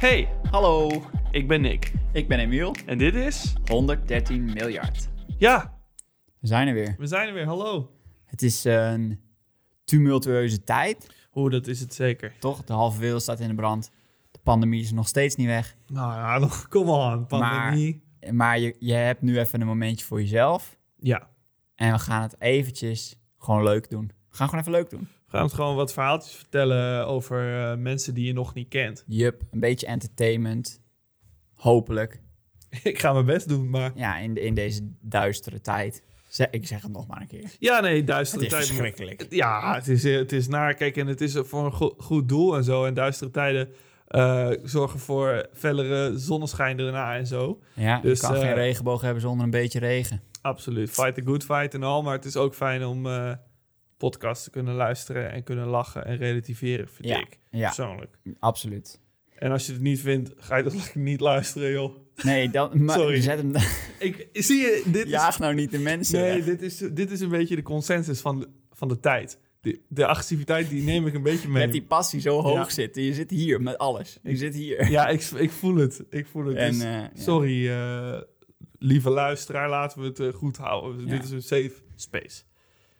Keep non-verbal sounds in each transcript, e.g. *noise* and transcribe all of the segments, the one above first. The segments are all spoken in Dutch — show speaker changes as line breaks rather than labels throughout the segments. Hey,
Hallo,
ik ben Nick.
ik ben Emiel.
En dit is...
113 miljard.
Ja,
We zijn er weer.
we zijn er weer. Hallo.
Het is een tumultueuze tijd,
Hoe dat is het zeker.
toch? De halve wereld staat in de brand. De pandemie is nog steeds niet weg.
Nou ja, *laughs* nog, come on, pandemie.
Maar je, je hebt nu even een momentje voor jezelf.
Ja,
En we gaan het eventjes gewoon leuk doen. We gaan gewoon even leuk doen.
we gaan ons gewoon wat verhaaltjes vertellen over eh, mensen die je nog niet kent. *laughs*
Jup, een beetje entertainment. Hopelijk.
ik ga mijn best doen, maar...
Ja, in, in deze duistere tijd. Zeg- ik zeg het nog maar een keer.
Ja, nee, duistere
Het is
tijden.
verschrikkelijk.
Ja, het is, eh, het is naar. Kijk, en het is voor een go- goed doel en zo. En duistere tijden eh, zorgen voor fellere zonneschijn erna en zo.
Ja,
Dus,
je kan
eh,
geen regenboog hebben zonder een beetje regen.
Absoluut. Fight the good fight en al. Maar het is ook fijn om eh podcasts te kunnen luisteren en kunnen lachen en relativeren, vind
Ja,
ik.
ja.
Persoonlijk.
Absoluut.
En als je het niet vindt, ga je dat lekker *laughs* niet luisteren, joh.
Nee, dan, maar
Sorry. *laughs*
zet hem
Ik zie je, dit is...
Jaag nou niet de mensen.
Nee,
weg.
dit is, dit is een beetje de consensus van de, van de tijd. De, de agressiviteit, die neem ik een beetje mee.
Met die passie zo hoog
Ja.
zitten. Je zit hier met alles. Je zit
*laughs*
hier.
Ja, ik, ik voel het. Ik voel het.
En,
Dus
eh, ja.
sorry, eh, lieve luisteraar, laten we het eh, goed houden.
Ja.
Dit is een safe space.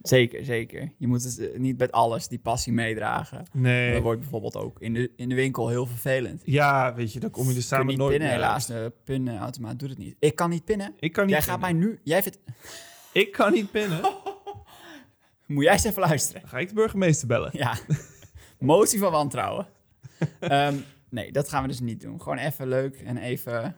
Zeker, zeker. Je moet het eh, niet met alles die passie meedragen.
Nee.
Dat wordt bijvoorbeeld ook in de, in de winkel heel vervelend. Je
Ja, weet je, dan kom je er
kunt
samen
niet
nooit
pinnen
meer uit.
helaas. De pinautomaat doet het niet. Ik kan niet pinnen.
Ik kan niet
jij gaat mij
pinnen.
nu... Jij vindt,
Ik kan niet pinnen.
moet jij eens even luisteren. *laughs*
Dan ga ik de burgemeester bellen. *laughs*
Ja. Motie van wantrouwen. Ehm, nee, dat gaan we dus niet doen. Gewoon even leuk en even,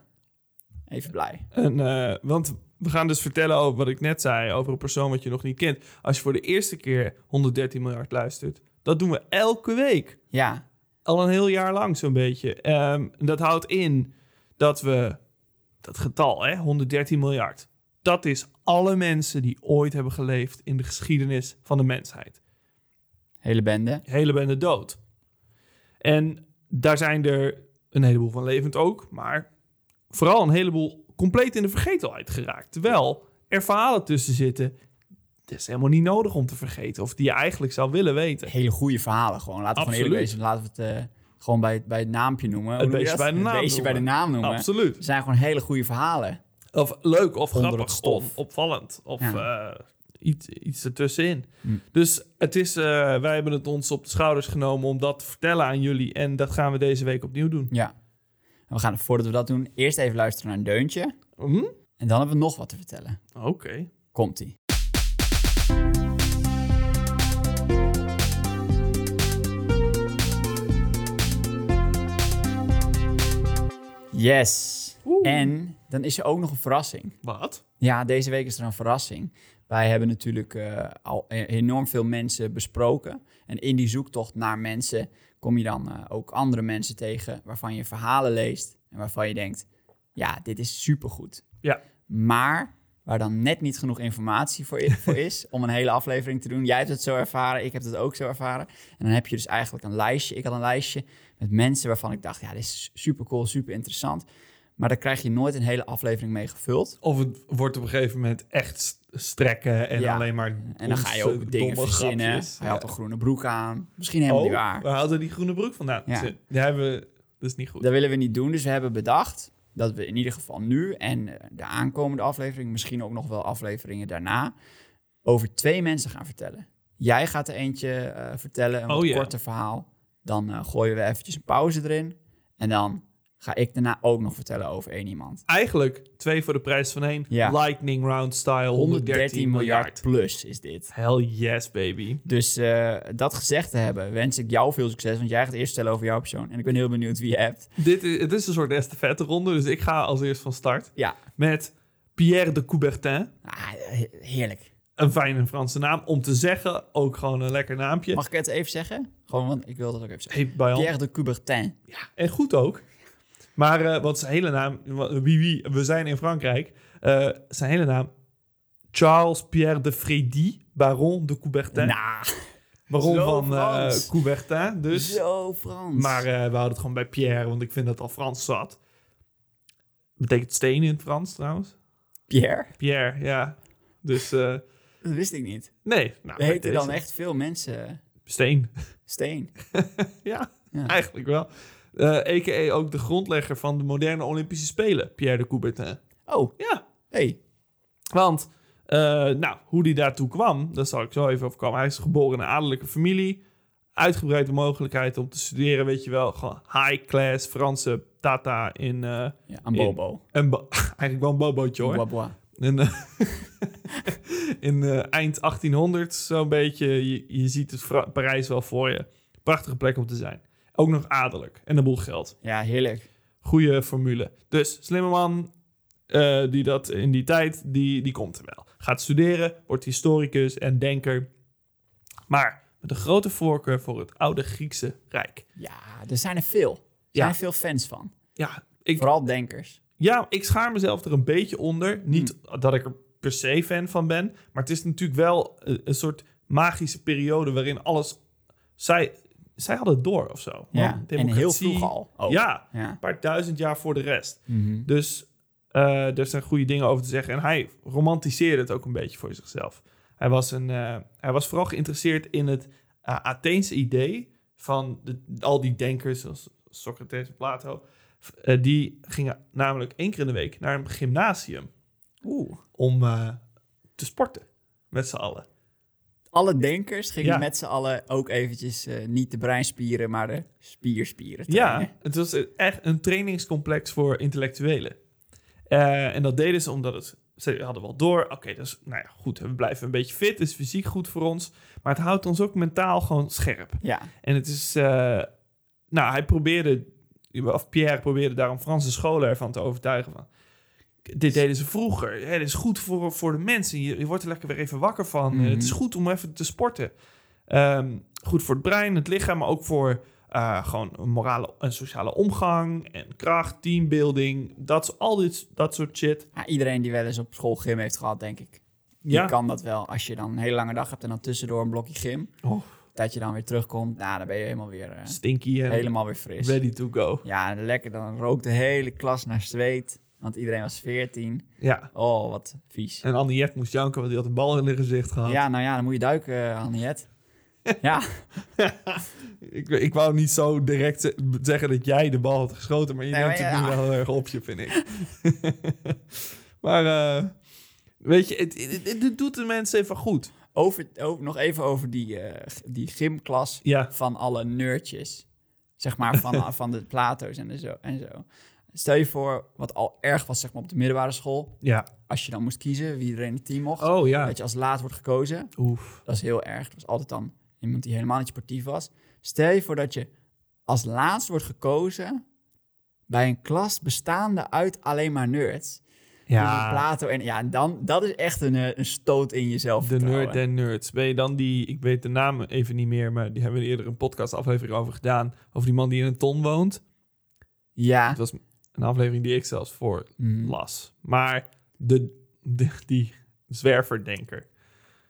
even blij.
En, eh, want we gaan dus vertellen over wat ik net zei, over een persoon wat je nog niet kent. Als je voor de eerste keer 113 miljard luistert, dat doen we elke week.
Ja,
Al een heel jaar lang zo'n beetje. Ehm, dat houdt in dat we, dat getal hè, 113 miljard, dat is alle mensen die ooit hebben geleefd in de geschiedenis van de mensheid.
hele bende.
hele bende dood. En daar zijn er een heleboel van levend ook, maar vooral een heleboel compleet in de vergetelheid geraakt. Terwijl er verhalen tussen zitten, dat is helemaal niet nodig om te vergeten, of die je eigenlijk zou willen weten.
hele goede verhalen gewoon. Laten we gewoon
Absoluut.
eerlijk wezen. Laten we het eh, gewoon bij, bij het naampje noemen. Hoe
Het
noem je
beestje
dat?
bij de naam
het beestje
noemen.
bij de naam noemen.
Absoluut.
Het zijn gewoon hele goede verhalen.
Of leuk, of
Onder
grappig,
het stof.
of opvallend, of
Ja.
eh, iets, iets ertussenin.
Hm.
Dus het is, eh, wij hebben het ons op de schouders genomen om dat te vertellen aan jullie. En dat gaan we deze week opnieuw doen.
Ja. En we gaan, voordat we dat doen, eerst even luisteren naar een deuntje.
Hm?
En dan hebben we nog wat te vertellen.
Oké.
Komt-ie. Yes.
Oeh.
En dan is er ook nog een verrassing.
Wat?
Ja, deze week is er een verrassing. Wij hebben natuurlijk eh, al e- enorm veel mensen besproken. En in die zoektocht naar mensen kom je dan eh, ook andere mensen tegen waarvan je verhalen leest en waarvan je denkt: ja, dit is supergoed.
Ja.
Maar waar dan net niet genoeg informatie voor i- voor is om een hele aflevering te doen. Jij hebt het zo ervaren, ik heb het ook zo ervaren. En dan heb je dus eigenlijk een lijstje. Ik had een lijstje met mensen waarvan ik dacht: ja, dit is super cool, super interessant. Maar daar krijg je nooit een hele aflevering mee gevuld.
Of het wordt op een gegeven moment echt st- strekken en
Ja.
alleen maar.
En dan ga je ook dingen verzinnen. Hij had een groene broek aan. Misschien helemaal
Oh,
niet waar.
we hadden die groene broek vandaan.
Ja.
Ze- Die hebben we. Dat is niet goed.
Dat willen we niet doen. Dus we hebben bedacht dat we in ieder geval nu en eh, de aankomende aflevering, misschien ook nog wel afleveringen daarna, over twee mensen gaan vertellen. Jij gaat er eentje eh, vertellen, een
Oh,
wat
ja.
korter verhaal. Dan eh, gooien we eventjes een pauze erin. En dan ga ik daarna ook nog vertellen over één iemand.
Eigenlijk twee voor de prijs van één.
Ja.
Lightning round style
113 miljard plus is dit.
Hell yes, baby.
Dus eh, dat gezegd te hebben, wens ik jou veel succes. Want jij gaat eerst vertellen over jouw persoon. En ik ben heel benieuwd wie je hebt.
Dit is, het is een soort estafette ronde, dus ik ga als eerst van start
Ja,
met Pierre de Coubertin.
Ah, he- heerlijk.
Een fijne Franse naam om te zeggen, ook gewoon een lekker naampje.
Mag ik het even zeggen? Gewoon, want ik wil dat ook even zeggen.
Hey, bij ons.
Pierre de Coubertin.
Ja, en goed ook. Maar eh, wat zijn hele naam, wa- wie wie, we zijn in Frankrijk. Eh, zijn hele naam, Charles Pierre de Frédy, baron de Coubertin.
Nah,
baron
Nou, zo
van eh,
Frans.
Coubertin dus.
zo Frans.
Maar eh, we houden het gewoon bij Pierre, want ik vind dat al Frans zat. Betekent steen in het Frans trouwens?
Pierre?
Pierre, ja. Dus eh,
Dat wist ik niet.
nee. Nou, bij
Heten dan
deze.
echt veel mensen
Steen,
eh,
*laughs*
Steen.
ja,
Ja.
eigenlijk wel. Eh a.k.a. ook de grondlegger van de moderne Olympische Spelen, Pierre de Coubertin.
Oh,
Ja,
hey.
want eh, nou, hoe die daartoe kwam, daar zal ik zo even over komen. Hij is geboren in een adellijke familie. Uitgebreide mogelijkheid om te studeren, weet je wel. Gewoon high class Franse tata in eh,
Ja, aan Bobo.
een... bo- *laughs* Eigenlijk wel een bobootje hoor.
Bobo.
En, eh, *laughs* in eh, eind 1800 zo'n beetje. Je, je ziet het Fra- Parijs wel voor je. Prachtige plek om te zijn. Ook nog adellijk. En een boel geld.
Ja, heerlijk.
Goede formule. Dus slimme man eh, die dat in die tijd, die, die komt er wel. Gaat studeren, wordt historicus en denker. Maar met een grote voorkeur voor het oude Griekse Rijk.
Ja, er zijn er veel. Er zijn
Ja.
er veel fans van.
Ja, ik,
Vooral denkers.
Ja, ik schaar mezelf er een beetje onder. Niet
Hmm.
dat ik er per se fan van ben. Maar het is natuurlijk wel eh, een soort magische periode waarin alles. Zij, zij hadden het door of zo.
Ja,
Want
en heel
democratie-
vroeg al. ook.
Ja,
ja.
een paar duizend jaar voor de rest.
Mhm.
Dus eh er zijn goede dingen over te zeggen. En hij romantiseerde het ook een beetje voor zichzelf. Hij was, een, eh, hij was vooral geïnteresseerd in het eh, Atheense idee van de, al die denkers zoals Socrates en Plato. F- eh, die gingen namelijk één keer in de week naar een gymnasium
Oeh.
om eh, te sporten met z'n allen.
Alle denkers gingen
Ja.
met z'n allen ook eventjes eh, niet de breinspieren, maar de spierspieren.
Ja,
trainen.
het was echt een trainingscomplex voor intellectuelen. Eh, en dat deden ze omdat het, ze hadden wel door. Oké, dus nou ja, goed, we blijven een beetje fit. is fysiek goed voor ons. Maar het houdt ons ook mentaal gewoon scherp.
Ja.
En het is, eh, nou, hij probeerde, of Pierre probeerde daarom Franse scholen ervan te overtuigen van. Dit deden ze vroeger. Hè, dit is goed voor, voor de mensen. Je, je wordt er lekker weer even wakker van.
Mhm.
Het is goed om even te sporten. Ehm, goed voor het brein, het lichaam, maar ook voor eh, gewoon een morale en sociale omgang en kracht, teambuilding. Dat, is- al dit, dat soort shit.
Ja, iedereen die wel eens op school gym heeft gehad, denk ik.
Ja.
Je kan dat wel. Als je dan een hele lange dag hebt en dan tussendoor een blokje gym.
Oh.
Dat je dan weer terugkomt. Nou, dan ben je helemaal weer, eh,
Stinky en
helemaal weer fris.
ready to go.
Ja, lekker. Dan rookt de hele klas naar zweet. Want iedereen was 14.
Ja.
Oh, wat vies.
En Anniette moest janken, want die had een bal in haar gezicht gehad.
Ja, nou ja, dan moet je duiken, Anniet. ja,
Ik, ik wou niet zo direct ze- zeggen dat jij de bal had geschoten, maar je
Nee,
neemt
maar
het nu
ja.
wel heel erg op je, vind ik. *laughs* maar eh, weet je, het, het, het- het doet de mensen even goed.
over, over- nog even over die, eh, g- die gymklas
Ja,
van alle nerdjes. Zeg maar
*laughs*
van, van de Plato's en de zo, en zo. Stel je voor, wat al erg was zeg maar, op de middelbare school.
ja.
Als je dan moest kiezen wie er in het team mocht.
Oh ja.
Dat je als laat wordt gekozen.
Oef.
Dat is heel erg. Dat was altijd dan iemand die helemaal niet sportief was. Stel je voor dat je als laatst wordt gekozen bij een klas bestaande uit alleen maar nerds. Dus een
Ja,
Plato en ja, dan, dat is echt een, eh, een stoot in jezelf.
de nerd en nerds. Ben je dan die, ik weet de naam even niet meer, maar die hebben we eerder een podcastaflevering over gedaan. Over die man die in een ton woont.
Ja.
Het was een aflevering die ik zelfs voor
Mhm.
las. Maar de, de- die zwerverdenker.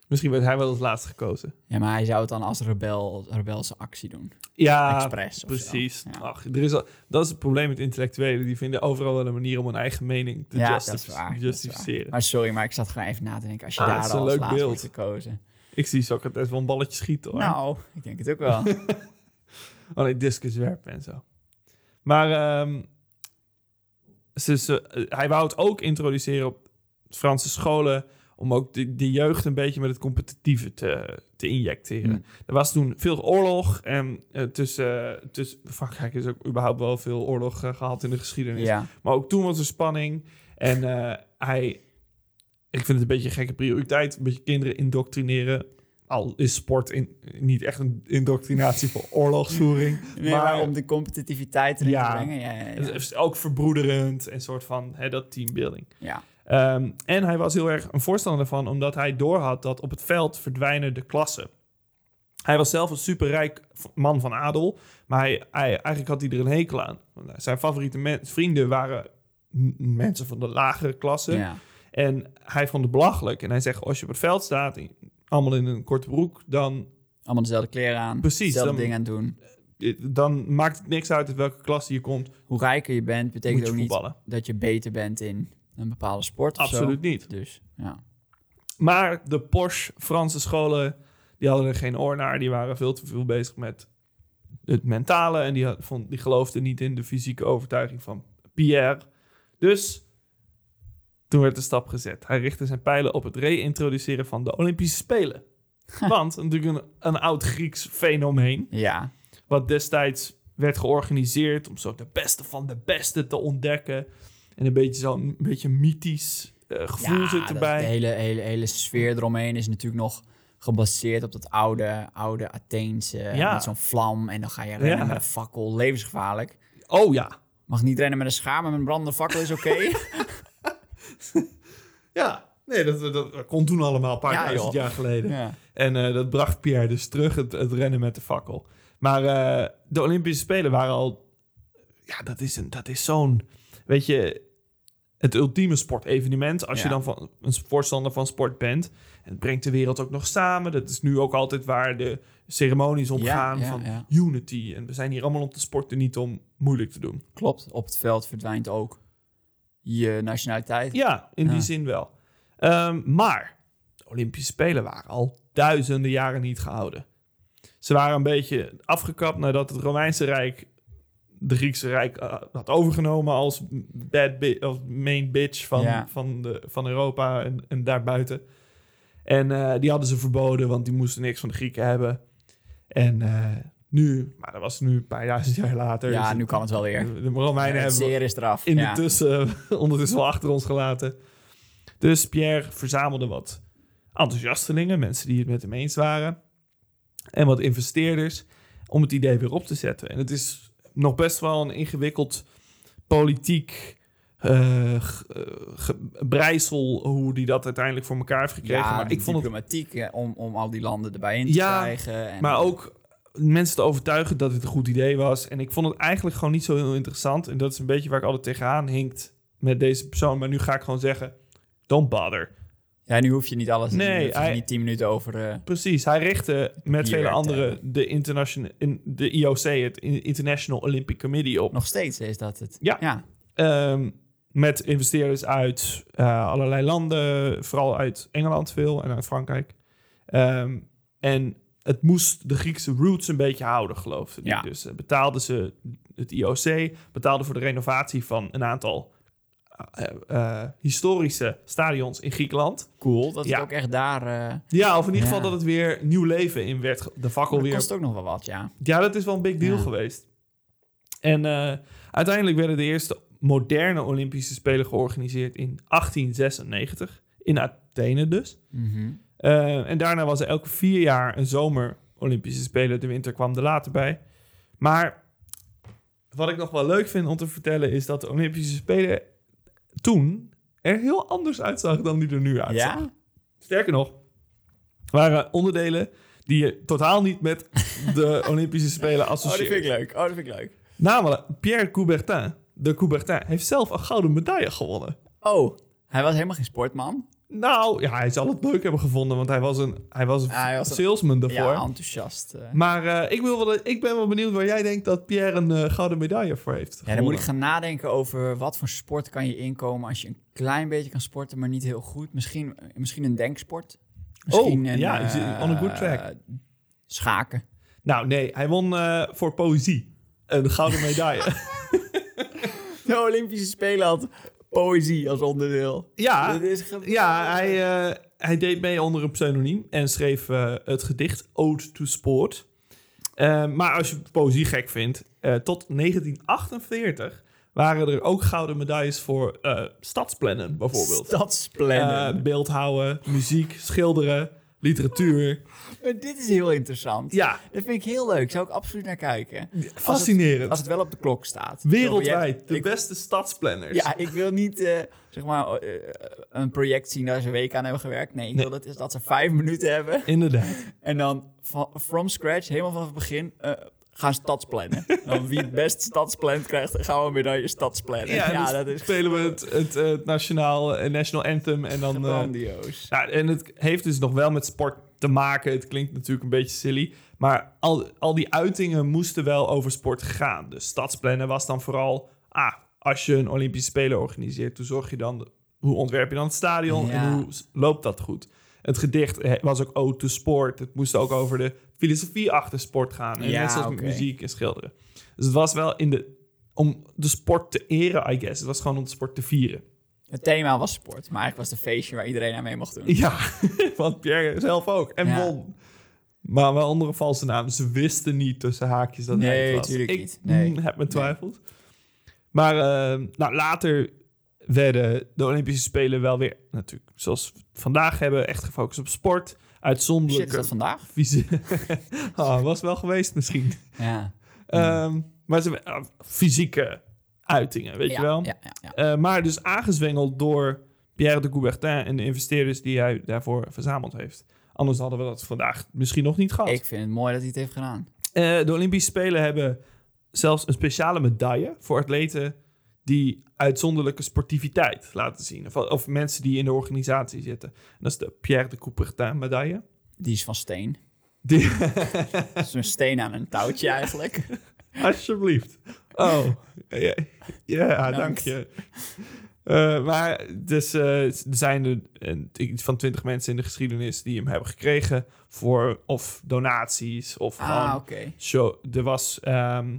Misschien werd hij wel als laatste gekozen.
ja, maar hij zou het dan als rebel, rebelse actie doen.
Ja,
Express of zo.
precies.
Ja.
Ach, er is al, dat is het probleem met intellectuelen. Die vinden overal wel een manier om hun eigen mening te
ja,
justif-
dat is waar. dat is waar.
justificeren.
Maar sorry, maar ik zat gewoon even na te denken. Als je
Ah, het
daar
is een
al als
leuk
laatst wordt
beeld.
gekozen.
Ik zie Socrates wel een balletje schieten hoor.
Nou, ik denk het ook
*laughs*
wel.
Oh nee, discus werpen en zo. Maar ehm, ze, ze- eh, hij wou het ook introduceren op Franse scholen... om ook de, de jeugd een beetje met het competitieve te, te injecteren.
Hmm.
Er was toen veel oorlog. En eh, tussen, tussen Frankrijk is ook überhaupt wel veel oorlog eh, gehad in de geschiedenis.
ja.
Maar ook toen was er spanning. En eh, hij... Ik vind het een beetje een gekke prioriteit. Een beetje kinderen indoctrineren. Al is sport in, niet echt een indoctrinatie voor oorlogsvoering.
Nee, maar, om de competitiviteit erin
Ja.
te brengen. Ja, ja,
Het
ja.
is ook verbroederend en soort van hè, dat teambuilding.
ja.
Ehm, en hij was heel erg een voorstander ervan, omdat hij doorhad dat op het veld verdwijnen de klassen. Hij was zelf een superrijk v- man van adel, maar hij, hij- eigenlijk had hij er een hekel aan. Want Zijn favoriete men- vrienden waren m- mensen van de lagere klasse.
ja.
En hij vond het belachelijk. En hij zegt, als je op het veld staat, in- allemaal in een korte broek, dan,
Allemaal dezelfde kleren aan.
Precies,
Dezelfde
dan-
dingen aan doen.
dan maakt het niks uit uit welke klasse je komt,
Hoe rijker je bent, betekent
moet je
ook niet
voetballen.
dat je beter bent in een bepaalde sport of zo.
Absoluut niet.
Dus, ja.
Maar de Porsche Franse scholen, die hadden er geen oor naar. Die waren veel te veel bezig met het mentale. En die, had- vond, die geloofde niet in de fysieke overtuiging van Pierre. Dus toen werd de stap gezet. Hij richtte zijn pijlen op het reintroduceren van de Olympische
*laughs*
Spelen. Want natuurlijk een, een oud Grieks fenomeen.
Ja,
Wat destijds werd georganiseerd om zo de beste van de beste te ontdekken. En een beetje zo'n een beetje mythisch eh, gevoel
ja
zit
dat- de
erbij.
hele, hele, hele sfeer eromheen is natuurlijk nog gebaseerd op dat oude, oude Atheense.
Ja.
Met zo'n vlam en dan ga je rennen
Ja.
met een fakkel. Levensgevaarlijk.
Oh ja.
Mag niet rennen met een schaar, maar met een brandende fakkel is oké. *laughs*
Ja. Nee, dat, dat, dat kon toen allemaal een paar
Ja,
duizend
joh.
jaar geleden.
ja.
En eh, dat bracht Pierre dus terug, het, het rennen met de fakkel. Maar eh, de Olympische Spelen waren al... Ja, dat is, een, dat is zo'n... Weet je, het ultieme sportevenement. Als je
Ja.
dan van, een voorstander van sport bent. Het brengt de wereld ook nog samen. Dat is nu ook altijd waar de ceremonies om
Ja,
gaan.
ja,
van
ja.
unity. En we zijn hier allemaal om te sporten, niet om moeilijk te doen.
Klopt, op het veld verdwijnt ook je nationaliteit.
Ja, in die
Ja.
zin wel. Ehm, maar de Olympische Spelen waren al duizenden jaren niet gehouden. Ze waren een beetje afgekapt nadat het Romeinse Rijk de Griekse Rijk eh, had overgenomen als bad bi- als main bitch van,
Ja.
van, de, van Europa en, en daarbuiten. En eh, die hadden ze verboden, want die moesten niks van de Grieken hebben. En eh, nu, maar dat was nu een paar duizend jaar later.
Ja,
dus
nu kan het wel weer.
de Romeinen
het
hebben
zeer is eraf.
in
ja.
de tussen *laughs* ondertussen wel achter ons gelaten. Dus Pierre verzamelde wat enthousiastelingen, mensen die het met hem eens waren. En wat investeerders om het idee weer op te zetten. En het is nog best wel een ingewikkeld politiek eh, g- eh, gebreisel hoe die dat uiteindelijk voor elkaar heeft gekregen.
ja,
maar ik vond het
diplomatiek eh, om, om al die landen erbij in te
Ja,
krijgen. En
maar ook mensen te overtuigen dat het een goed idee was. En ik vond het eigenlijk gewoon niet zo heel interessant. En dat is een beetje waar ik altijd tegenaan hinkt met deze persoon. Maar nu ga ik gewoon zeggen, don't bother.
Ja, nu hoef je niet alles.
Nee,
Nee, hoef je
hij-
niet tien minuten over. eh,
Precies, hij richtte met
Hier
vele
te
anderen de, internationa- in- de IOC, het In- International Olympic Committee, op.
nog steeds is dat het.
Ja.
ja.
Ehm, met investeerders uit eh, allerlei landen, vooral uit Engeland veel en uit Frankrijk. Ehm, en het moest de Griekse roots een beetje houden, geloofde die.
Ja.
Dus eh, betaalden ze het IOC, betaalde voor de renovatie van een aantal eh, eh, historische stadions in Griekenland.
Cool, dat
Ja.
het ook echt daar... eh
Ja, of in ieder geval
Ja.
dat het weer nieuw leven in werd, ge- de fakkel
dat
weer
kost ook nog wel wat, ja.
Ja, dat is wel een big deal
Ja.
geweest. En eh, uiteindelijk werden de eerste moderne Olympische Spelen georganiseerd in 1896. In Athene dus.
Mhm.
Eh, en daarna was er elke vier jaar een zomer Olympische Spelen. De winter kwam er later bij. Maar wat ik nog wel leuk vind om te vertellen is dat de Olympische Spelen toen er heel anders uitzag dan die er nu uitzag.
Ja?
Sterker nog, waren onderdelen die je totaal niet met
*laughs*
de Olympische Spelen associeert.
leuk. Oh, dat vind ik leuk.
Namelijk, Pierre Coubertin, de Coubertin, heeft zelf een gouden medaille gewonnen.
Oh, hij was helemaal geen sportman.
Nou, ja, hij zal het leuk hebben gevonden, want hij was een, hij was een
Hij was een-
salesman daarvoor.
Ja, enthousiast. eh.
Maar eh, ik, wil wel, ik ben wel benieuwd waar jij denkt dat Pierre een eh, gouden medaille voor heeft
Ja, dan moet
gewonnen.
ik gaan nadenken over wat voor sport kan je inkomen als je een klein beetje kan sporten, maar niet heel goed. Misschien, misschien een denksport. Misschien
Oh, ja, je zit on a good track.
eh, Schaken.
Nou, nee, hij won eh, voor poëzie een gouden medaille.
*laughs* De Olympische Spelen had poëzie als onderdeel.
ja,
Dit is geweldig.
Ah, Ja, hij, eh, hij deed mee onder een pseudoniem en schreef eh, het gedicht Ode to Sport. Eh, maar als je poëzie gek vindt, eh, tot 1948 waren er ook gouden medailles voor eh, stadsplannen bijvoorbeeld.
Stadsplannen.
Eh, beeldhouden, muziek, schilderen, literatuur.
Maar dit is heel interessant.
Eh, Ja,
Dat vind ik heel leuk. Zou ik absoluut naar kijken.
fascinerend.
Als het wel op de klok staat.
Wereldwijd de
Ik-
beste stadsplanners.
Ja, ik wil niet eh, zeg maar, eh, een project zien daar ze een week aan hebben gewerkt. Nee, ik
Nee.
wil dat, is dat ze vijf minuten hebben.
Inderdaad.
En dan van, from scratch, helemaal vanaf het begin, eh, gaan stadsplannen. dan wie het best stadsplant krijgt, gaan we een medaille stadsplannen. Ja,
dus
dat is
spelen we het, het, eh, nationaal eh, national anthem en dan eh,
grandioos.
Ja, en het heeft dus nog wel met sport te maken. Het klinkt natuurlijk een beetje silly. Maar al, al die uitingen moesten wel over sport gaan. Dus stadsplannen was dan vooral... Ah, als je een Olympische Spelen organiseert... hoe zorg je dan... Hoe ontwerp je dan het stadion?
Ja.
En hoe s- loopt dat goed? Het gedicht eh, was ook ode to sport. Het moest ook over de filosofie achter sport gaan. En
Ja,
net zoals met
oké.
muziek en schilderen. Dus het was wel in de, om de sport te eren, I guess. Het was gewoon om de sport te vieren.
Het thema was sport, maar eigenlijk was het een feestje waar iedereen aan mee mocht doen.
*laughs* Ja, want Pierre zelf ook. En
Ja.
won. Maar wel onder een valse naam. Ze wisten niet tussen haakjes dat hij
Nee,
het was.
tuurlijk
ik
niet. Nee.
mm, heb mijn twijfels. Maar eh, nou, later werden de Olympische Spelen wel weer... natuurlijk, zoals we het vandaag hebben, echt gefocust op sport.
Shit, is
Uitzonderlijke
dat vandaag?
fysieke... *laughs* Ah, was wel geweest misschien.
Ja.
Ehm, maar ze ah, fysieke uitingen, weet
ja,
je wel?
Ja, ja, ja.
Eh, maar dus aangezwengeld door Pierre de Coubertin en de investeerders die hij daarvoor verzameld heeft. Anders hadden we dat vandaag misschien nog niet gehad.
Ik vind het mooi dat hij het heeft gedaan.
Eh, de Olympische Spelen hebben zelfs een speciale medaille voor atleten die uitzonderlijke sportiviteit laten zien. Of, of mensen die in de organisatie zitten. En dat is de Pierre de Coubertin medaille.
Die is van steen. *laughs*
Die,
Dat is een steen aan een touwtje eigenlijk.
Alsjeblieft. Oh, ja, ja, dank
Bedankt.
je. Eh, maar dus, eh, er zijn er eh, iets van twintig mensen in de geschiedenis die hem hebben gekregen voor of donaties of
Ah,
gewoon
oké.
show. Er was, ehm,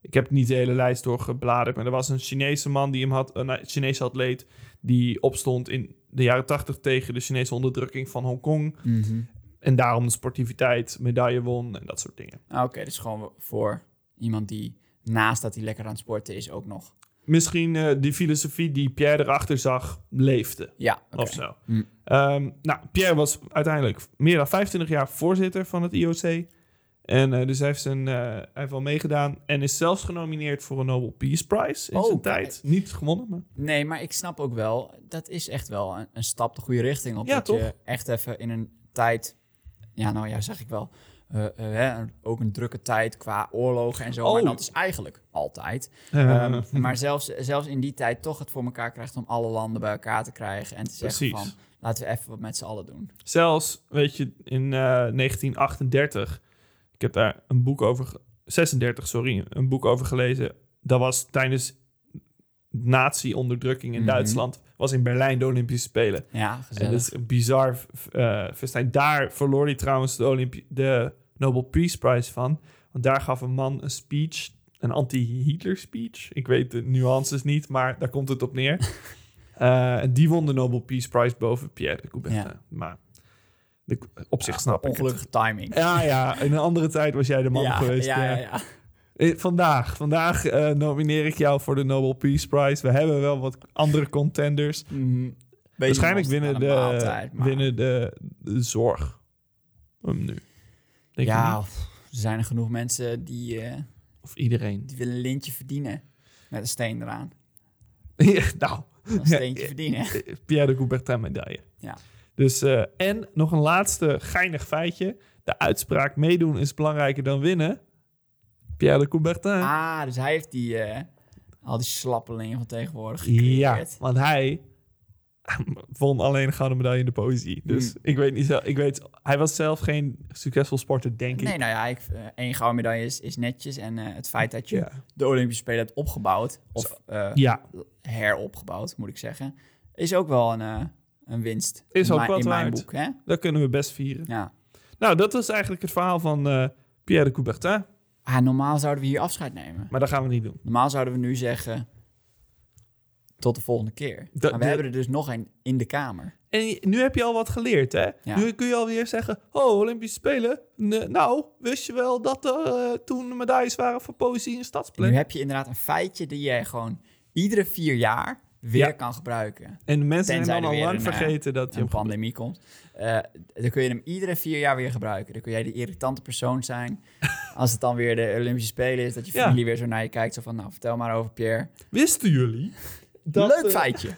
ik heb niet de hele lijst doorgebladerd, maar er was een Chinese man die hem had, een eh, Chinese atleet die opstond in de jaren tachtig tegen de Chinese onderdrukking van Hongkong
Mhm.
en daarom de sportiviteit medaille won en dat soort dingen.
Ah, Oké, dus gewoon voor iemand die naast dat hij lekker aan het sporten is ook nog.
misschien eh, die filosofie die Pierre erachter zag, leefde
Ja, oké.
of zo.
Hmm.
Ehm, nou, Pierre was uiteindelijk meer dan 25 jaar voorzitter van het IOC. En eh, dus hij heeft, zijn, eh, hij heeft wel meegedaan en is zelfs genomineerd voor een Nobel Peace Prize in
Oh,
zijn
kijk.
tijd. Niet gewonnen, maar...
Nee, maar ik snap ook wel, dat is echt wel een, een stap de goede richting op.
Ja,
dat
toch?
je echt even in een tijd, ja, nou ja, zeg ik wel, eh, eh, hè, een- ook een drukke tijd qua oorlogen en zo.
Oh.
Maar dat is eigenlijk altijd.
Ehm,
Ehm, maar zelfs, zelfs in die tijd toch het voor elkaar krijgt om alle landen bij elkaar te krijgen en te zeggen
Precies.
van, laten we even wat met z'n allen doen.
Zelfs, weet je, in eh, 1938, ik heb daar een boek over, ge- 36, sorry, een boek over gelezen. Dat was tijdens nazi-onderdrukking in
Mhm.
Duitsland, was in Berlijn de Olympische Spelen.
Ja,
En dat
gezellig.
is een bizar f- eh, festijn. Daar verloor hij trouwens de, Olympi- de Nobel Peace Prize van. Want daar gaf een man een speech, een anti-Hitler speech. Ik weet de nuances niet, maar daar komt het op neer.
*laughs*
Eh, en die won de Nobel Peace Prize boven Pierre de Coubertin.
Ja.
Maar de, op zich snap ik het.
Ongelukkige timing.
Ja, ja, in een andere tijd was jij de man
ja,
geweest.
ja,
ja.
ja, ja.
Eh, Vandaag, vandaag eh, nomineer ik jou voor de Nobel Peace Prize. We hebben wel wat andere contenders.
Mhm. Beetje
Waarschijnlijk
monster
winnen
aan
de,
een maaltijd, maar-
winnen de, de zorg hem nu. Denk je
ja,
niet?
pff, er zijn er genoeg mensen die, eh,
Of iedereen. *laughs*
die willen een lintje verdienen. Met een steen eraan.
Ja, nou,
Een steentje verdienen.
eh, Pierre de Coubertin medaille.
Ja.
Dus, eh, en nog een laatste geinig feitje. De uitspraak meedoen is belangrijker dan winnen. Pierre de Coubertin.
Ah, dus hij heeft die, eh, al die slappelingen van tegenwoordig
ja,
gecreëerd.
want hij *laughs* won alleen een gouden medaille in de poëzie.
Hmm.
Dus ik weet niet zo, ik weet, hij was zelf geen succesvol sporter, denk ik.
Nee, nou ja, ik, eh, één gouden medaille is, is netjes. En eh, het feit dat je
Ja.
de Olympische Spelen hebt opgebouwd, of eh,
ja,
heropgebouwd, moet ik zeggen, is ook wel een, eh, een winst.
Is
In
ook
mijn-
wat
In mijn
waard.
boek, hè?
dat kunnen we best vieren.
Ja.
Nou, dat was eigenlijk het verhaal van eh, Pierre de Coubertin.
Ah, normaal zouden we hier afscheid nemen.
Maar dat gaan we niet doen.
Normaal zouden we nu zeggen. Tot de volgende keer.
Dat-
maar we
dat-
hebben er dus nog een in de kamer.
En je- nu heb je al wat geleerd, hè?
Ja.
Nu kun je alweer zeggen, oh, Olympische Spelen. N- nou, wist je wel dat er eh, toen medailles waren voor poëzie en
En nu
stadsplein?
heb je inderdaad een feitje die jij gewoon iedere vier jaar weer
Ja.
kan gebruiken.
En de mensen
Tenzij
zijn
er
dan al
weer
lang
een, eh,
vergeten dat
Als
je
er een
hem...
pandemie komt. Eh, dan kun je hem iedere vier jaar weer gebruiken. Dan kun jij de irritante persoon
*laughs*
zijn. Als het dan weer de Olympische Spelen is, dat je
Ja.
familie weer zo naar je kijkt. Zo van, nou, vertel maar over Pierre.
Wisten jullie? dat,
Leuk
eh,
feitje.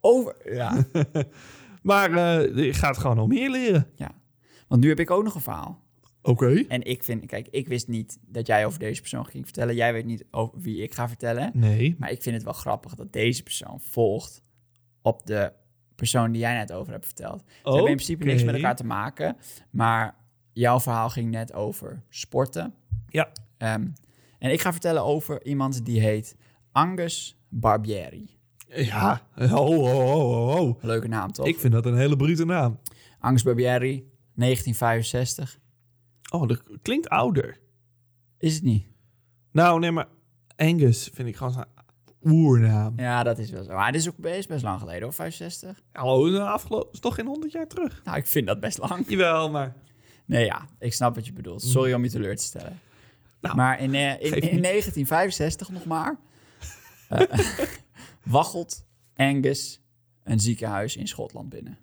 Over, ja.
*laughs* Maar eh, je gaat gewoon nog meer leren.
ja. Want nu heb ik ook nog een verhaal.
Oké.
En ik vind, kijk, ik wist niet dat jij over deze persoon ging vertellen. Jij weet niet over wie ik ga vertellen.
Nee.
Maar ik vind het wel grappig dat deze persoon volgt op de persoon die jij net over hebt verteld. Ze hebben in principe niks met
Oké.
elkaar te maken. Maar jouw verhaal ging net over sporten.
Ja.
Ehm, en ik ga vertellen over iemand die heet Angus Barbieri.
Ja. Ho, ho, ho, ho, ho.
Leuke naam, toch?
Ik vind dat een hele brute naam.
Angus Barbieri, 1965.
Oh, dat klinkt ouder.
Is het niet?
Nou, nee, maar Angus vind ik gewoon zijn oernaam.
Ja, dat is wel zo. Maar dit is ook best, best lang geleden hoor, 65.
Hallo, de afgelopen oh, is toch geen honderd jaar terug?
Nou, ik vind dat best lang.
Jawel, maar...
Nee, ja, ik snap wat je bedoelt. Sorry om je teleur te stellen.
Mm. Nou,
maar in, eh, in, in
geeft niet.
1965 nog maar, eh, *laughs* waggelt Angus een ziekenhuis in Schotland binnen.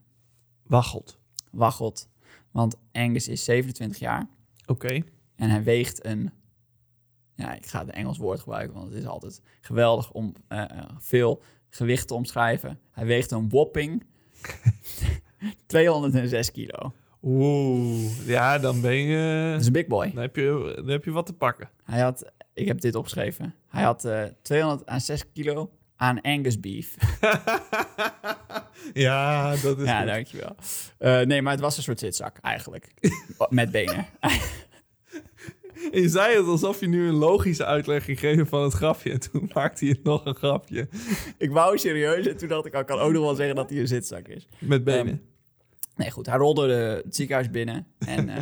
Waggelt.
Waggelt, want Angus is 27 jaar
Oké.
en hij weegt een... Ja, ik ga het Engels woord gebruiken, want het is altijd geweldig om eh, eh, veel gewicht te omschrijven. Hij weegt
*laughs*
een whopping 206 kilo.
Oeh, ja, dan ben je...
Dat is een big boy.
Dan heb je, dan heb je wat te pakken. *laughs*
Hij had, ik heb dit opgeschreven. Hij had eh 206 kilo aan Angus *laughs* beef.
ja, dat is
ja,
goed.
dankjewel. Eh, nee, maar het was een soort zitzak *laughs* eigenlijk. Met benen.
Je zei het alsof je nu een logische uitleg ging geven van het grapje. *laughs* En toen maakte je nog een grapje.
ik wou serieus en toen dacht ik, ik kan ook nog wel zeggen dat hij een zitzak is.
Met benen.
Nee, goed. Hij rolde de, het ziekenhuis binnen en *laughs* eh,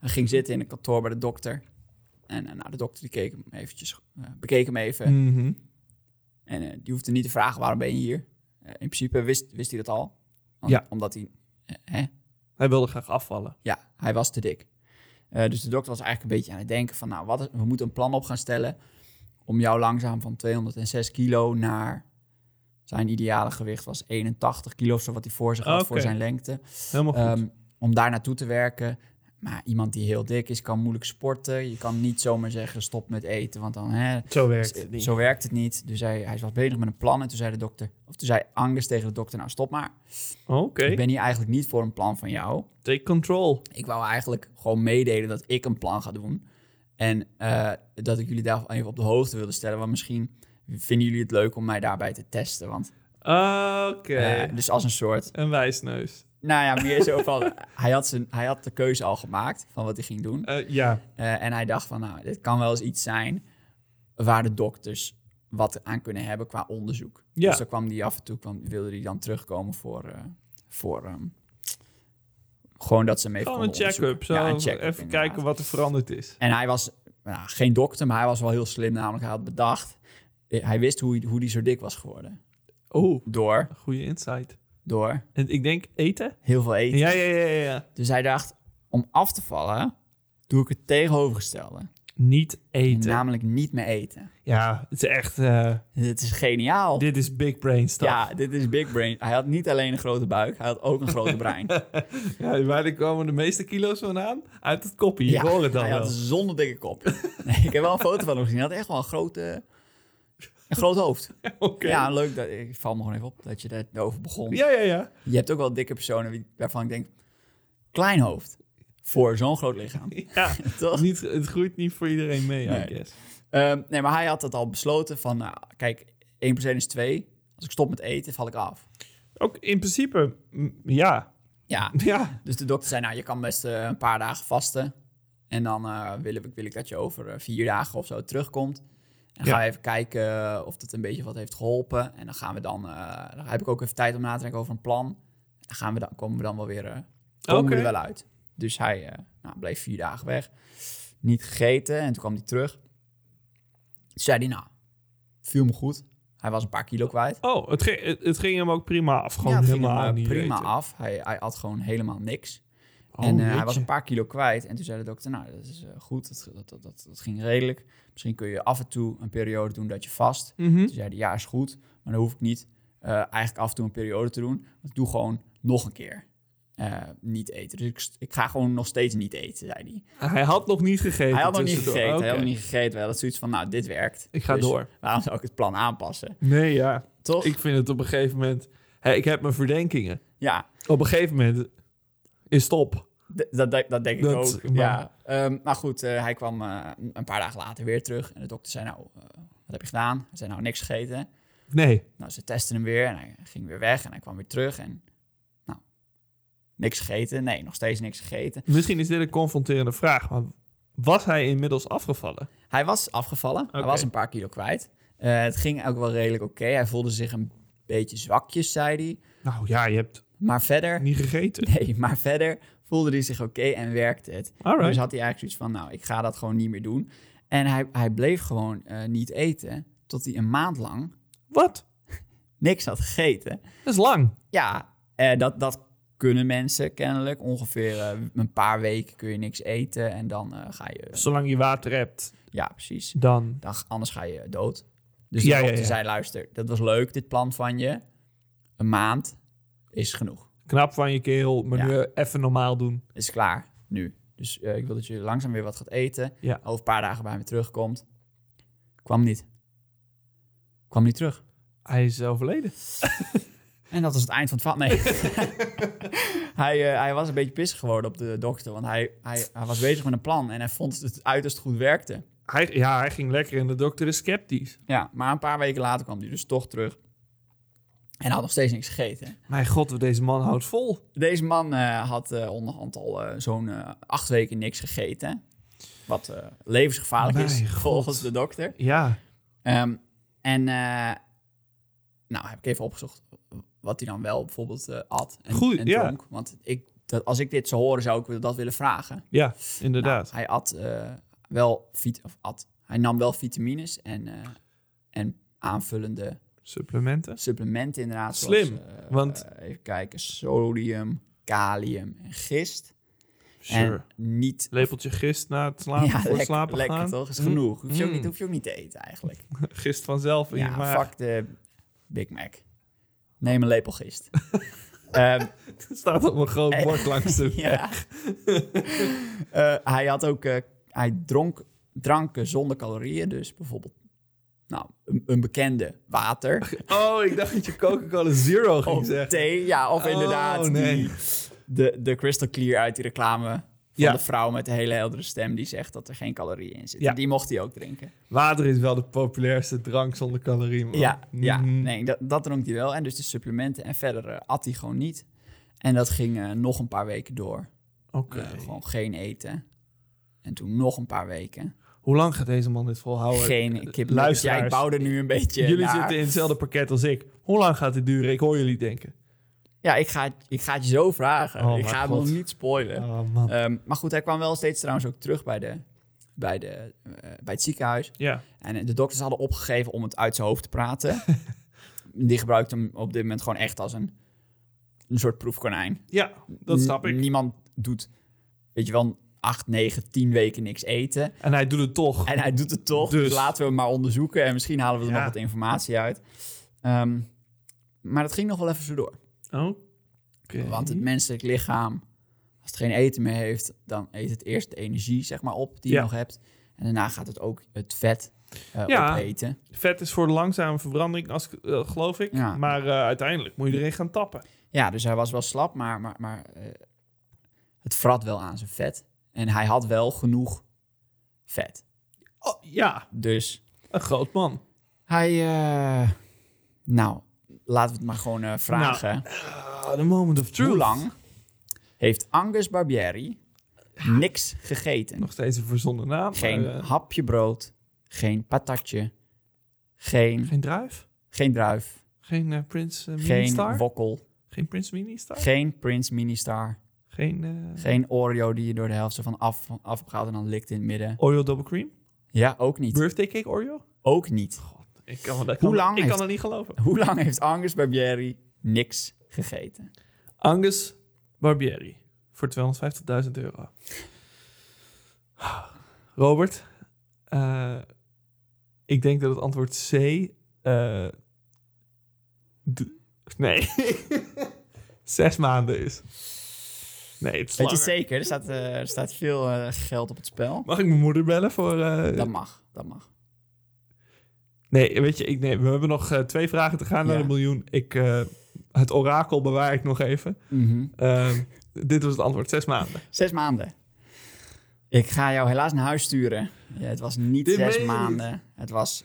hij ging zitten in een kantoor bij de dokter. En eh, nou, de dokter die keek hem eventjes, eh, bekeek hem even.
Mhm.
En eh, die hoefde niet te vragen, waarom ben je hier? Eh, in principe wist, wist hij dat al. Want-
Ja.
Omdat hij... eh, hè,
Hij wilde graag afvallen.
Ja, hij was te dik. Eh, dus de dokter was eigenlijk een beetje aan het denken van... nou, wat is- we moeten een plan op gaan stellen... om jou langzaam van 206 kilo naar... zijn ideale gewicht was 81 kilo... of zo wat hij voor zich had
Oké.
voor zijn lengte.
Helemaal goed.
Ehm, om daar naartoe te werken. Maar iemand die heel dik is, kan moeilijk sporten. Je kan niet zomaar zeggen stop met eten... want dan hè,
Zo werkt het niet.
zo werkt het niet. Dus hij, hij was bezig met een plan. En toen zei de dokter... of toen zei Angus tegen de dokter... nou, stop maar.
Oké,
Ik ben hier eigenlijk niet voor een plan van jou...
take control.
Ik wou eigenlijk gewoon meedelen dat ik een plan ga doen. En eh, dat ik jullie daar even op de hoogte wilde stellen. Want misschien vinden jullie het leuk om mij daarbij te testen. Want,
Oké,
eh, dus als een soort...
een wijsneus.
Nou ja, meer zo van... *laughs* hij, had zijn, hij had de keuze al gemaakt van wat hij ging doen.
Eh, ja,
Eh, en hij dacht van, nou, dit kan wel eens iets zijn... waar de dokters wat aan kunnen hebben qua onderzoek.
Ja.
Dus dan kwam die af en toe, kwam, wilde hij dan terugkomen voor... eh, voor ehm, gewoon dat ze mee
gewoon een
konden
check-up. Zo
onderzoeken. Ja, een check-up,
even
inderdaad.
kijken wat er veranderd is.
En hij was nou, geen dokter, maar hij was wel heel slim. Namelijk, hij had bedacht. eh, Hij wist hoe, hoe hij zo dik was geworden.
Oh,
Door,
goede insight.
door
En ik denk eten?
heel veel eten.
Ja, ja, ja, ja. ja.
Dus hij dacht, om af te vallen, doe ik het tegenovergestelde.
Niet
En
eten.
namelijk niet meer eten.
Ja, het is echt... eh,
Dit is geniaal.
dit is big brain stuff.
ja, dit is big brain. Hij had niet alleen een grote buik, hij had ook een grote
*laughs*
brein.
Ja, waar komen de meeste kilo's vandaan? Uit het koppie, ik
Ja,
hoor het al
hij
wel.
had een zonder dikke kop. Nee, ik heb wel een foto van hem gezien. Hij had echt wel een, grote, een groot
*laughs*
hoofd.
Oké.
Ja, leuk. Dat, ik val me gewoon even op dat je daarover begon.
Ja, ja, ja.
Je hebt ook wel dikke personen wie- waarvan ik denk... Klein hoofd voor zo'n groot lichaam.
ja.
*laughs* Toch?
*laughs* Niet, het groeit niet voor iedereen mee,
Nee.
I guess.
Ehm, nee, maar hij had dat al besloten van... nou, kijk, 1 plus 1 is 2. Als ik stop met eten, val ik af.
Ook in principe, mm, ja.
Ja,
Ja,
dus de dokter zei... Nou, je kan best eh, een paar dagen vasten. En dan eh, wil, ik, wil ik dat je over eh, vier dagen of zo terugkomt. En dan
Ja.
gaan we even kijken eh, of dat een beetje wat heeft geholpen. En dan gaan we dan... eh, dan heb ik ook even tijd om na te denken over een plan. Dan gaan we dan, komen we dan wel weer... eh, komen we
Oké.
er wel uit. Dus hij eh, nou, bleef vier dagen weg. Niet gegeten. En toen kwam hij terug. Toen zei hij, nou, viel me goed. Hij was een paar kilo kwijt.
Oh, het ging, het, het ging hem ook prima af. Gewoon
Ja, het ging
helemaal
hem, eh,
niet
prima
eten.
af. Hij, hij had gewoon helemaal niks.
Oh,
en eh, hij
jeetje.
was een paar kilo kwijt. En toen zei de dokter, nou, dat is eh, goed. Dat, dat, dat, dat, dat ging redelijk. Misschien kun je af en toe een periode doen dat je vast.
Mhm.
Toen zei hij, ja, is goed. Maar dan hoef ik niet eh, eigenlijk af en toe een periode te doen. Ik doe gewoon nog een keer eh, niet eten. Dus ik, st- ik ga gewoon nog steeds niet eten, zei hij.
Hij had nog niet gegeten.
Hij had nog niet
tussendoor.
gegeten. Hij had
Oké.
nog niet gegeten. Hij had zoiets van, nou, dit werkt.
Ik ga
Dus Oh.
door.
Waarom zou ik het plan aanpassen?
Nee, ja.
Toch?
Ik vind het op een gegeven moment... Hé, ik heb mijn verdenkingen.
Ja,
Op een gegeven moment is stop.
d- dat, dat, dat denk ik
Dat-
ook.
maar-
Ja. Ehm, maar goed, eh, hij kwam eh, een paar dagen later weer terug. En de dokter zei, nou, eh, wat heb je gedaan? Hij zei, nou, niks gegeten.
Nee.
Nou, ze testen hem weer en hij ging weer weg en hij kwam weer terug. En nou, niks gegeten. Nee, nog steeds niks gegeten.
Misschien is dit een confronterende vraag, maar was hij inmiddels afgevallen?
Hij was afgevallen. Hij
Oké.
was een paar kilo kwijt. Eh, het ging ook wel redelijk oké. Hij voelde zich een beetje zwakjes, zei hij.
Nou ja, je hebt
Maar verder,
Niet *laughs* gegeten.
nee, maar verder voelde hij zich oké en werkte het.
Alright.
Dus had hij eigenlijk zoiets van, nou, ik ga dat gewoon niet meer doen. En hij, hij bleef gewoon eh, niet eten tot hij een maand lang
Wat?
niks had gegeten.
Dat is lang.
Ja, eh, dat, dat kunnen mensen kennelijk. Ongeveer eh, een paar weken kun je niks eten en dan eh, ga je...
Zolang je water hebt,
Ja, precies.
dan...
Dan, anders ga je dood. Dus
Ja,
de
ja,
dokter
ja.
zei, luister, dat was leuk, dit plan van je. Een maand is genoeg.
Knap van je kerel, maar
Ja.
nu even normaal doen.
Het is klaar, nu. Dus eh, ik wil dat je langzaam weer wat gaat eten.
Ja.
Over een paar dagen bij me terugkomt. Kwam niet. Kwam niet terug.
Hij is overleden.
En dat was het eind van het
*laughs*
vat. Nee. hij, eh, hij was een beetje pissig geworden op de dokter. Want hij, hij, hij was bezig met een plan. En hij vond dat het uiterst goed werkte.
Hij, ja, hij ging lekker en de dokter is sceptisch.
Ja, maar een paar weken later kwam hij dus toch terug. En had nog steeds niks gegeten.
Mijn god, wat deze man houdt vol.
Deze man eh, had eh, onderhand al eh, zo'n eh, acht weken niks gegeten. Wat eh, levensgevaarlijk is,
Oh, Mijn god.
volgens de dokter.
Ja.
Ehm, en, eh, nou, heb ik even opgezocht wat hij dan wel bijvoorbeeld eh at en,
Goed,
en
ja.
dronk. Want ik, dat, als ik dit zou horen, zou ik dat willen vragen.
Ja, inderdaad.
Hij at eh, wel vit of at. Hij nam wel vitamines en, eh, en aanvullende
Supplementen.
supplementen inderdaad.
Slim,
zoals, eh,
want-
eh, even kijken, sodium, kalium en gist.
Sure.
En niet...
Lepeltje gist na het slapen,
*laughs*
voor het
lekker,
slapen
lekker
gaan.
toch? Is genoeg. Hoef je, ook
Mm.
niet, hoef je ook niet te eten eigenlijk.
*laughs* Gist vanzelf in je
Ja,
maag.
fuck de Big Mac. Neem een lepel gist.
*laughs*
Ehm,
Het *laughs* staat op een groot bord langs de
Eh, *laughs* ja. Eh, hij had ook... eh, hij dronk dranken zonder calorieën. Dus bijvoorbeeld... Nou, een, een bekende water.
Oh, ik dacht dat je Coca-Cola Zero *laughs* ging
Of
zeggen.
thee. Ja, Oh, of
Oh,
inderdaad
nee.
die, de, de Crystal Clear uit die reclame... van
Ja.
de vrouw met de hele heldere stem... die zegt dat er geen calorieën in zitten.
Ja.
Die mocht hij ook drinken.
Water is wel de populairste drank zonder calorieën, man.
Ja, ja
Mhm.
nee, dat, dat dronk hij wel. En dus de supplementen. En verder eh, at hij gewoon niet. En dat ging eh, nog een paar weken door.
Oké.
Eh, gewoon geen eten. En toen nog een paar weken.
Hoe lang gaat deze man dit volhouden?
geen kip.
Oh, eh, luisteraars.
Ja, ik bouw er nu een beetje
Jullie
naar.
zitten in hetzelfde pakket als ik. Hoe lang gaat dit duren? Ik hoor jullie denken.
Ja, ik ga, het- ik ga het je zo vragen.
Oh,
ik
maar
ga het
God.
nog niet spoilen.
Oh, man.
Ehm, maar goed, hij kwam wel steeds trouwens ook terug bij, de, bij, de, eh, bij het ziekenhuis.
Ja.
En eh, de dokters hadden opgegeven om het uit zijn hoofd te
*laughs*
praten. Die gebruikte hem op dit moment gewoon echt als een, een soort proefkonijn.
ja, dat snap
N-
ik.
Niemand doet, weet je wel, acht, negen, tien weken niks eten.
En hij doet het toch.
En hij doet het toch, dus,
Dus.
laten we hem maar onderzoeken. En misschien halen we er
Ja.
nog wat informatie uit. Ehm, maar dat ging nog wel even zo door.
Oké.
Want het menselijk lichaam, als het geen eten meer heeft... dan eet het eerst de energie, zeg maar, op die
Ja.
je nog hebt. En daarna gaat het ook het vet eh,
Ja.
opeten.
Vet is voor de langzame verbranding, als, ik- eh, geloof ik.
Ja.
Maar eh, uiteindelijk moet je erin gaan tappen.
Ja, dus hij was wel slap, maar, maar, maar eh, het vrat wel aan zijn vet. En hij had wel genoeg vet.
Oh, ja,
Dus
een groot man.
Hij, eh, nou, laten we het maar gewoon eh, vragen.
Ah, the moment of truth.
Hoe lang heeft Angus Barbieri niks gegeten?
Nog steeds een verzonnen naam.
Geen
maar, eh,
hapje brood, geen patatje, geen,
geen druif.
geen druif,
Geen eh, Prins eh,
geen
Ministar.
wokkel,
geen Prins Ministar.
geen Prince Ministar,
Geen eh
geen Oreo die je door de helft ervan af, afgaat en dan likt in het midden.
Oreo Double Cream.
Ja, ook niet.
Birthday Cake Oreo.
Ook niet.
God, ik kan, dat
Hoe lang
ik kan
heeft-
het niet geloven.
Hoe lang heeft Angus Barbieri niks gegeten?
Angus Barbieri. Voor 250.000 euro. Robert. eh, ik denk dat het antwoord C... eh, d- nee. *laughs* Zes maanden is. Nee, het is
Weet je
langer.
zeker, er staat, eh, er staat veel eh, geld op het spel.
Mag ik mijn moeder bellen voor... eh,
Dat mag, dat mag.
Nee, weet je, ik, nee, we hebben nog eh, twee vragen te gaan naar
Ja.
de miljoen. Ik, eh, het orakel bewaar ik nog even. Ehm, dit was het antwoord, zes maanden.
Zes maanden. Ik ga jou helaas naar huis sturen. Ja, het was niet
Dit meen
zes
je
maanden. Het, was,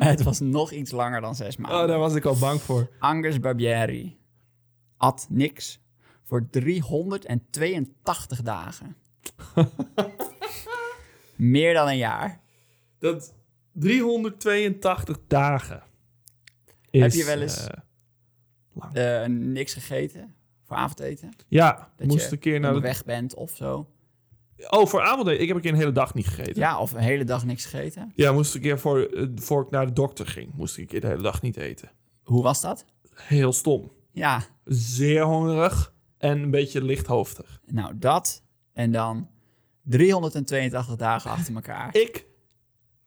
het was nog iets langer dan zes maanden.
Oh, daar was ik al bang voor.
Angus Barbieri at niks voor 382 *laughs* dagen. Meer dan een jaar.
Dat 382 dagen is,
Heb je wel eens-
eh, Lang.
eh, niks gegeten voor avondeten.
Ja,
Nou, Dat
moest
je
een keer naar de...
Onderweg bent of zo.
Oh, voor avondeten. Ik heb een keer een hele dag niet gegeten.
Ja, of een hele dag niks gegeten.
Ja, moest een keer voor, eh, voor ik naar de dokter ging, moest ik een keer de hele dag niet eten.
Hoe was dat?
Heel stom.
Ja,
Zeer hongerig en een beetje lichthoofdig.
nou dat. En dan 382 dagen achter elkaar.
Ik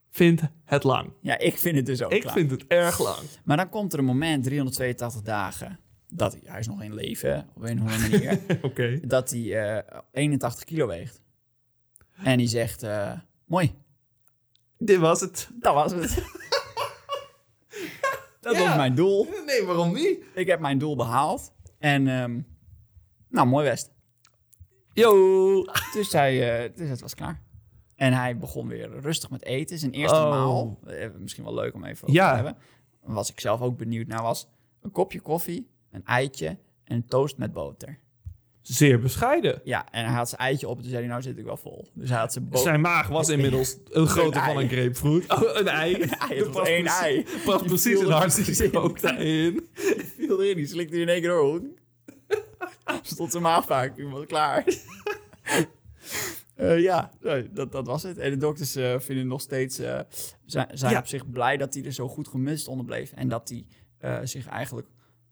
vind het lang.
Ja, ik vind het dus ook
Ik
klaar.
vind het erg lang.
Maar dan komt er een moment, 382 dagen, dat hij, hij is nog in leven op een of andere manier,
*laughs* Oké.
dat hij eh, 81 kilo weegt. En die zegt, eh, mooi,
Dit was het.
dat was het. dat
Ja.
was mijn doel.
Nee, waarom niet?
Ik heb mijn doel behaald. En, ehm, nou, mooi best.
Yo.
Dus, hij, eh, dus het was klaar. En hij begon weer rustig met eten. Zijn eerste
Oh.
maal, eh, misschien wel leuk om even over
Ja.
te hebben. Was ik zelf ook benieuwd naar was een kopje koffie, een eitje en een toast met boter.
Zeer bescheiden.
Ja, en hij had zijn eitje op en toen zei hij, nou zit ik wel vol. Dus hij had zijn boter.
Zijn maag was inmiddels Oh. een grootte van
ei.
een grapefruit. Oh, *laughs* een ei.
Een ei,
Er
het was
past
één
precies-
ei.
Past precies
viel
een
er
hartstikke
precies in.
ook daarin.
*laughs* viel erin, die slikte in één
*laughs*
keer door. Stond zijn maag vaak, iemand klaar.
*laughs*
Eh, ja, nee, dat, dat was het. En de dokters eh, vinden nog steeds, eh, zijn, zijn
Ja.
op zich blij dat hij er zo goed gemist onder bleef. En dat hij eh, zich eigenlijk,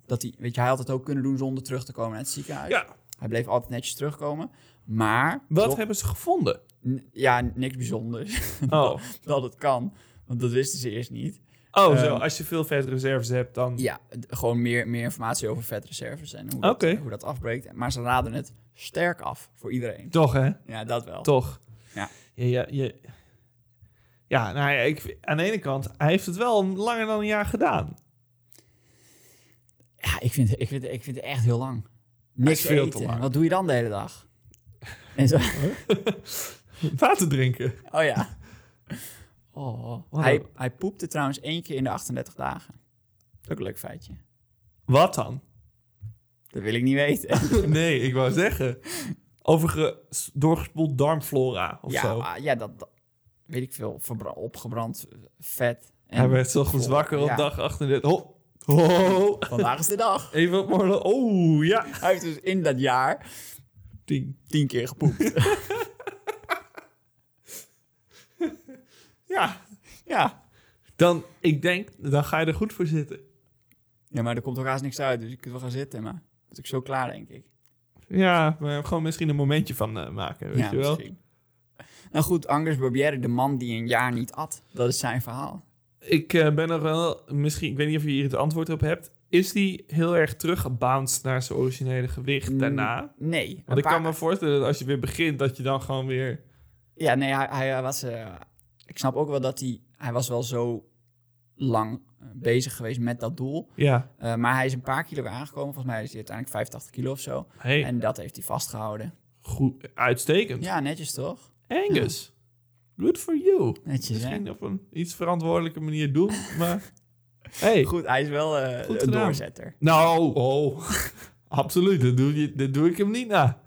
dat hij, weet je, hij had het ook kunnen doen zonder terug te komen naar het ziekenhuis.
Ja.
Hij bleef altijd netjes terugkomen. Maar,
Wat
toch-
hebben ze gevonden?
n- ja, niks bijzonders *laughs*
Oh,
dat het kan. Want dat wisten ze eerst niet.
oh
Ehm,
zo. Als je veel vetreserves hebt, dan...
Ja, d- gewoon meer, meer informatie over vetreserves en hoe dat,
Oké.
hoe dat afbreekt. Maar ze raden het sterk af voor iedereen.
Toch, hè?
Ja, dat wel.
Toch?
Ja.
Ja, ja, ja. ja nou ja, ik, aan de ene kant, hij heeft het wel langer dan een jaar gedaan.
Ja, ik vind, ik, vind, ik vind het echt heel lang. Niks
veel
eten.
te lang.
Wat doe je dan de hele dag?
*laughs*
En zo,
Water drinken.
oh *laughs* ja. Oh,
Wat
hij,
een-
hij poepte trouwens één keer in de 38 dagen. Ook een leuk feitje.
Wat dan? *laughs*
Dat wil ik niet weten.
nee, ik wou zeggen. Over ge- s- doorgespoeld darmflora *laughs* of
ja,
zo.
maar- ja dat, dat- weet ik veel. verbra- opgebrand eh, vet. En
Hij werd ochtends wakker op
Ja.
dag 38. Ho, ho,
Vandaag is de dag.
even op morgen. Oh, ja.
Hij heeft dus in dat jaar
Tien.
tien keer gepoept.
Ja,
ja.
dan, ik denk, dan ga je er goed voor zitten.
Ja, maar er komt ook haast niks uit, dus je kunt wel gaan zitten, maar dat is ook zo klaar, denk ik.
Ja, maar gewoon misschien een momentje van eh, maken, weet
ja,
je wel.
misschien. Nou goed, Angers Barbieri, de man die een jaar niet at. Dat is zijn verhaal.
Ik eh, ben nog wel, misschien, ik weet niet of je hier het antwoord op hebt. Is die heel erg teruggebounced naar zijn originele gewicht
Mm,
daarna?
Nee. een
Want ik
paar-
kan me voorstellen dat als je weer begint, dat je dan gewoon weer...
Ja, nee, hij, hij was... eh, ik snap ook wel dat hij... Hij was wel zo lang eh, bezig geweest met dat doel.
Ja,
Eh, maar hij is een paar kilo weer aangekomen. Volgens mij is hij uiteindelijk 85 kilo of zo.
hey,
En dat heeft hij vastgehouden.
goed, uitstekend.
Ja, netjes toch?
Angus, good for you.
Netjes, hè?
Misschien op een iets verantwoordelijke manier
*laughs*
doen, maar... Hey.
Goed, hij is wel eh,
Goed
een
gedaan.
doorzetter.
Nou, oh, absoluut, dat doe, je, dat doe ik hem niet na.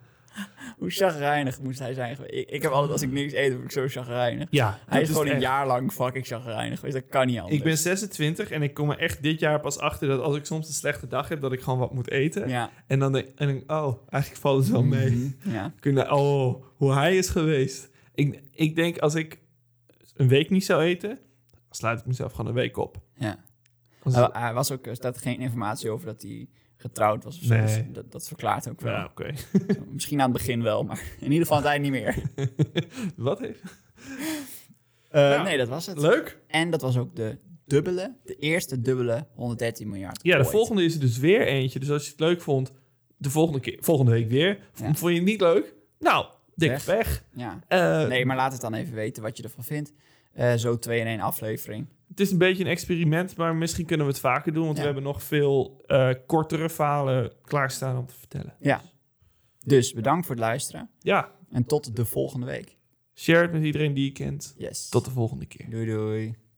Hoe chagrijnig moest hij zijn geweest? Ik, ik heb altijd, als ik niks eet, word ik zo chagrijnig.
Ja,
Hij is gewoon een jaar lang fucking chagrijnig geweest. Dat kan niet anders.
Ik ben 26 en ik kom er echt dit jaar pas achter dat als ik soms een slechte dag heb, dat ik gewoon wat moet eten.
Ja.
*laughs* En dan denk en ik, oh, eigenlijk valt het wel mee.
Mhm, Ja.
Kunnen, oh, hoe hij is geweest. Ik, ik denk als ik een week niet zou eten, dan sluit ik mezelf gewoon een week op.
ja.
Als-
Hij, hij was ook, er staat geen informatie over dat hij getrouwd was of zo.
Nee.
Dus dat, dat verklaart ook wel.
ja, oké.
Misschien aan het begin wel, maar in ieder geval aan het eind niet meer.
*laughs* Wat heeft...
Eh,
Ja.
Nee, dat was het.
Leuk.
En dat was ook de dubbele, de eerste dubbele 113 miljard.
Ja, de
ooit.
volgende is er dus weer eentje. Dus als je het leuk vond, de volgende keer, volgende week weer.
Ja.
Vond je het niet leuk? Nou, dikke
Weg.
pech.
Ja.
Eh,
Nee, maar laat het dan even weten wat je ervan vindt. Eh, zo 2 in 1 aflevering.
Het is een beetje een experiment, maar misschien kunnen we het vaker doen. Want
Ja.
we hebben nog veel eh, kortere verhalen klaarstaan om te vertellen.
Ja. Dus bedankt voor het luisteren.
Ja,
En tot de volgende week.
share het met iedereen die je kent.
Yes.
Tot de volgende keer.
Doei doei.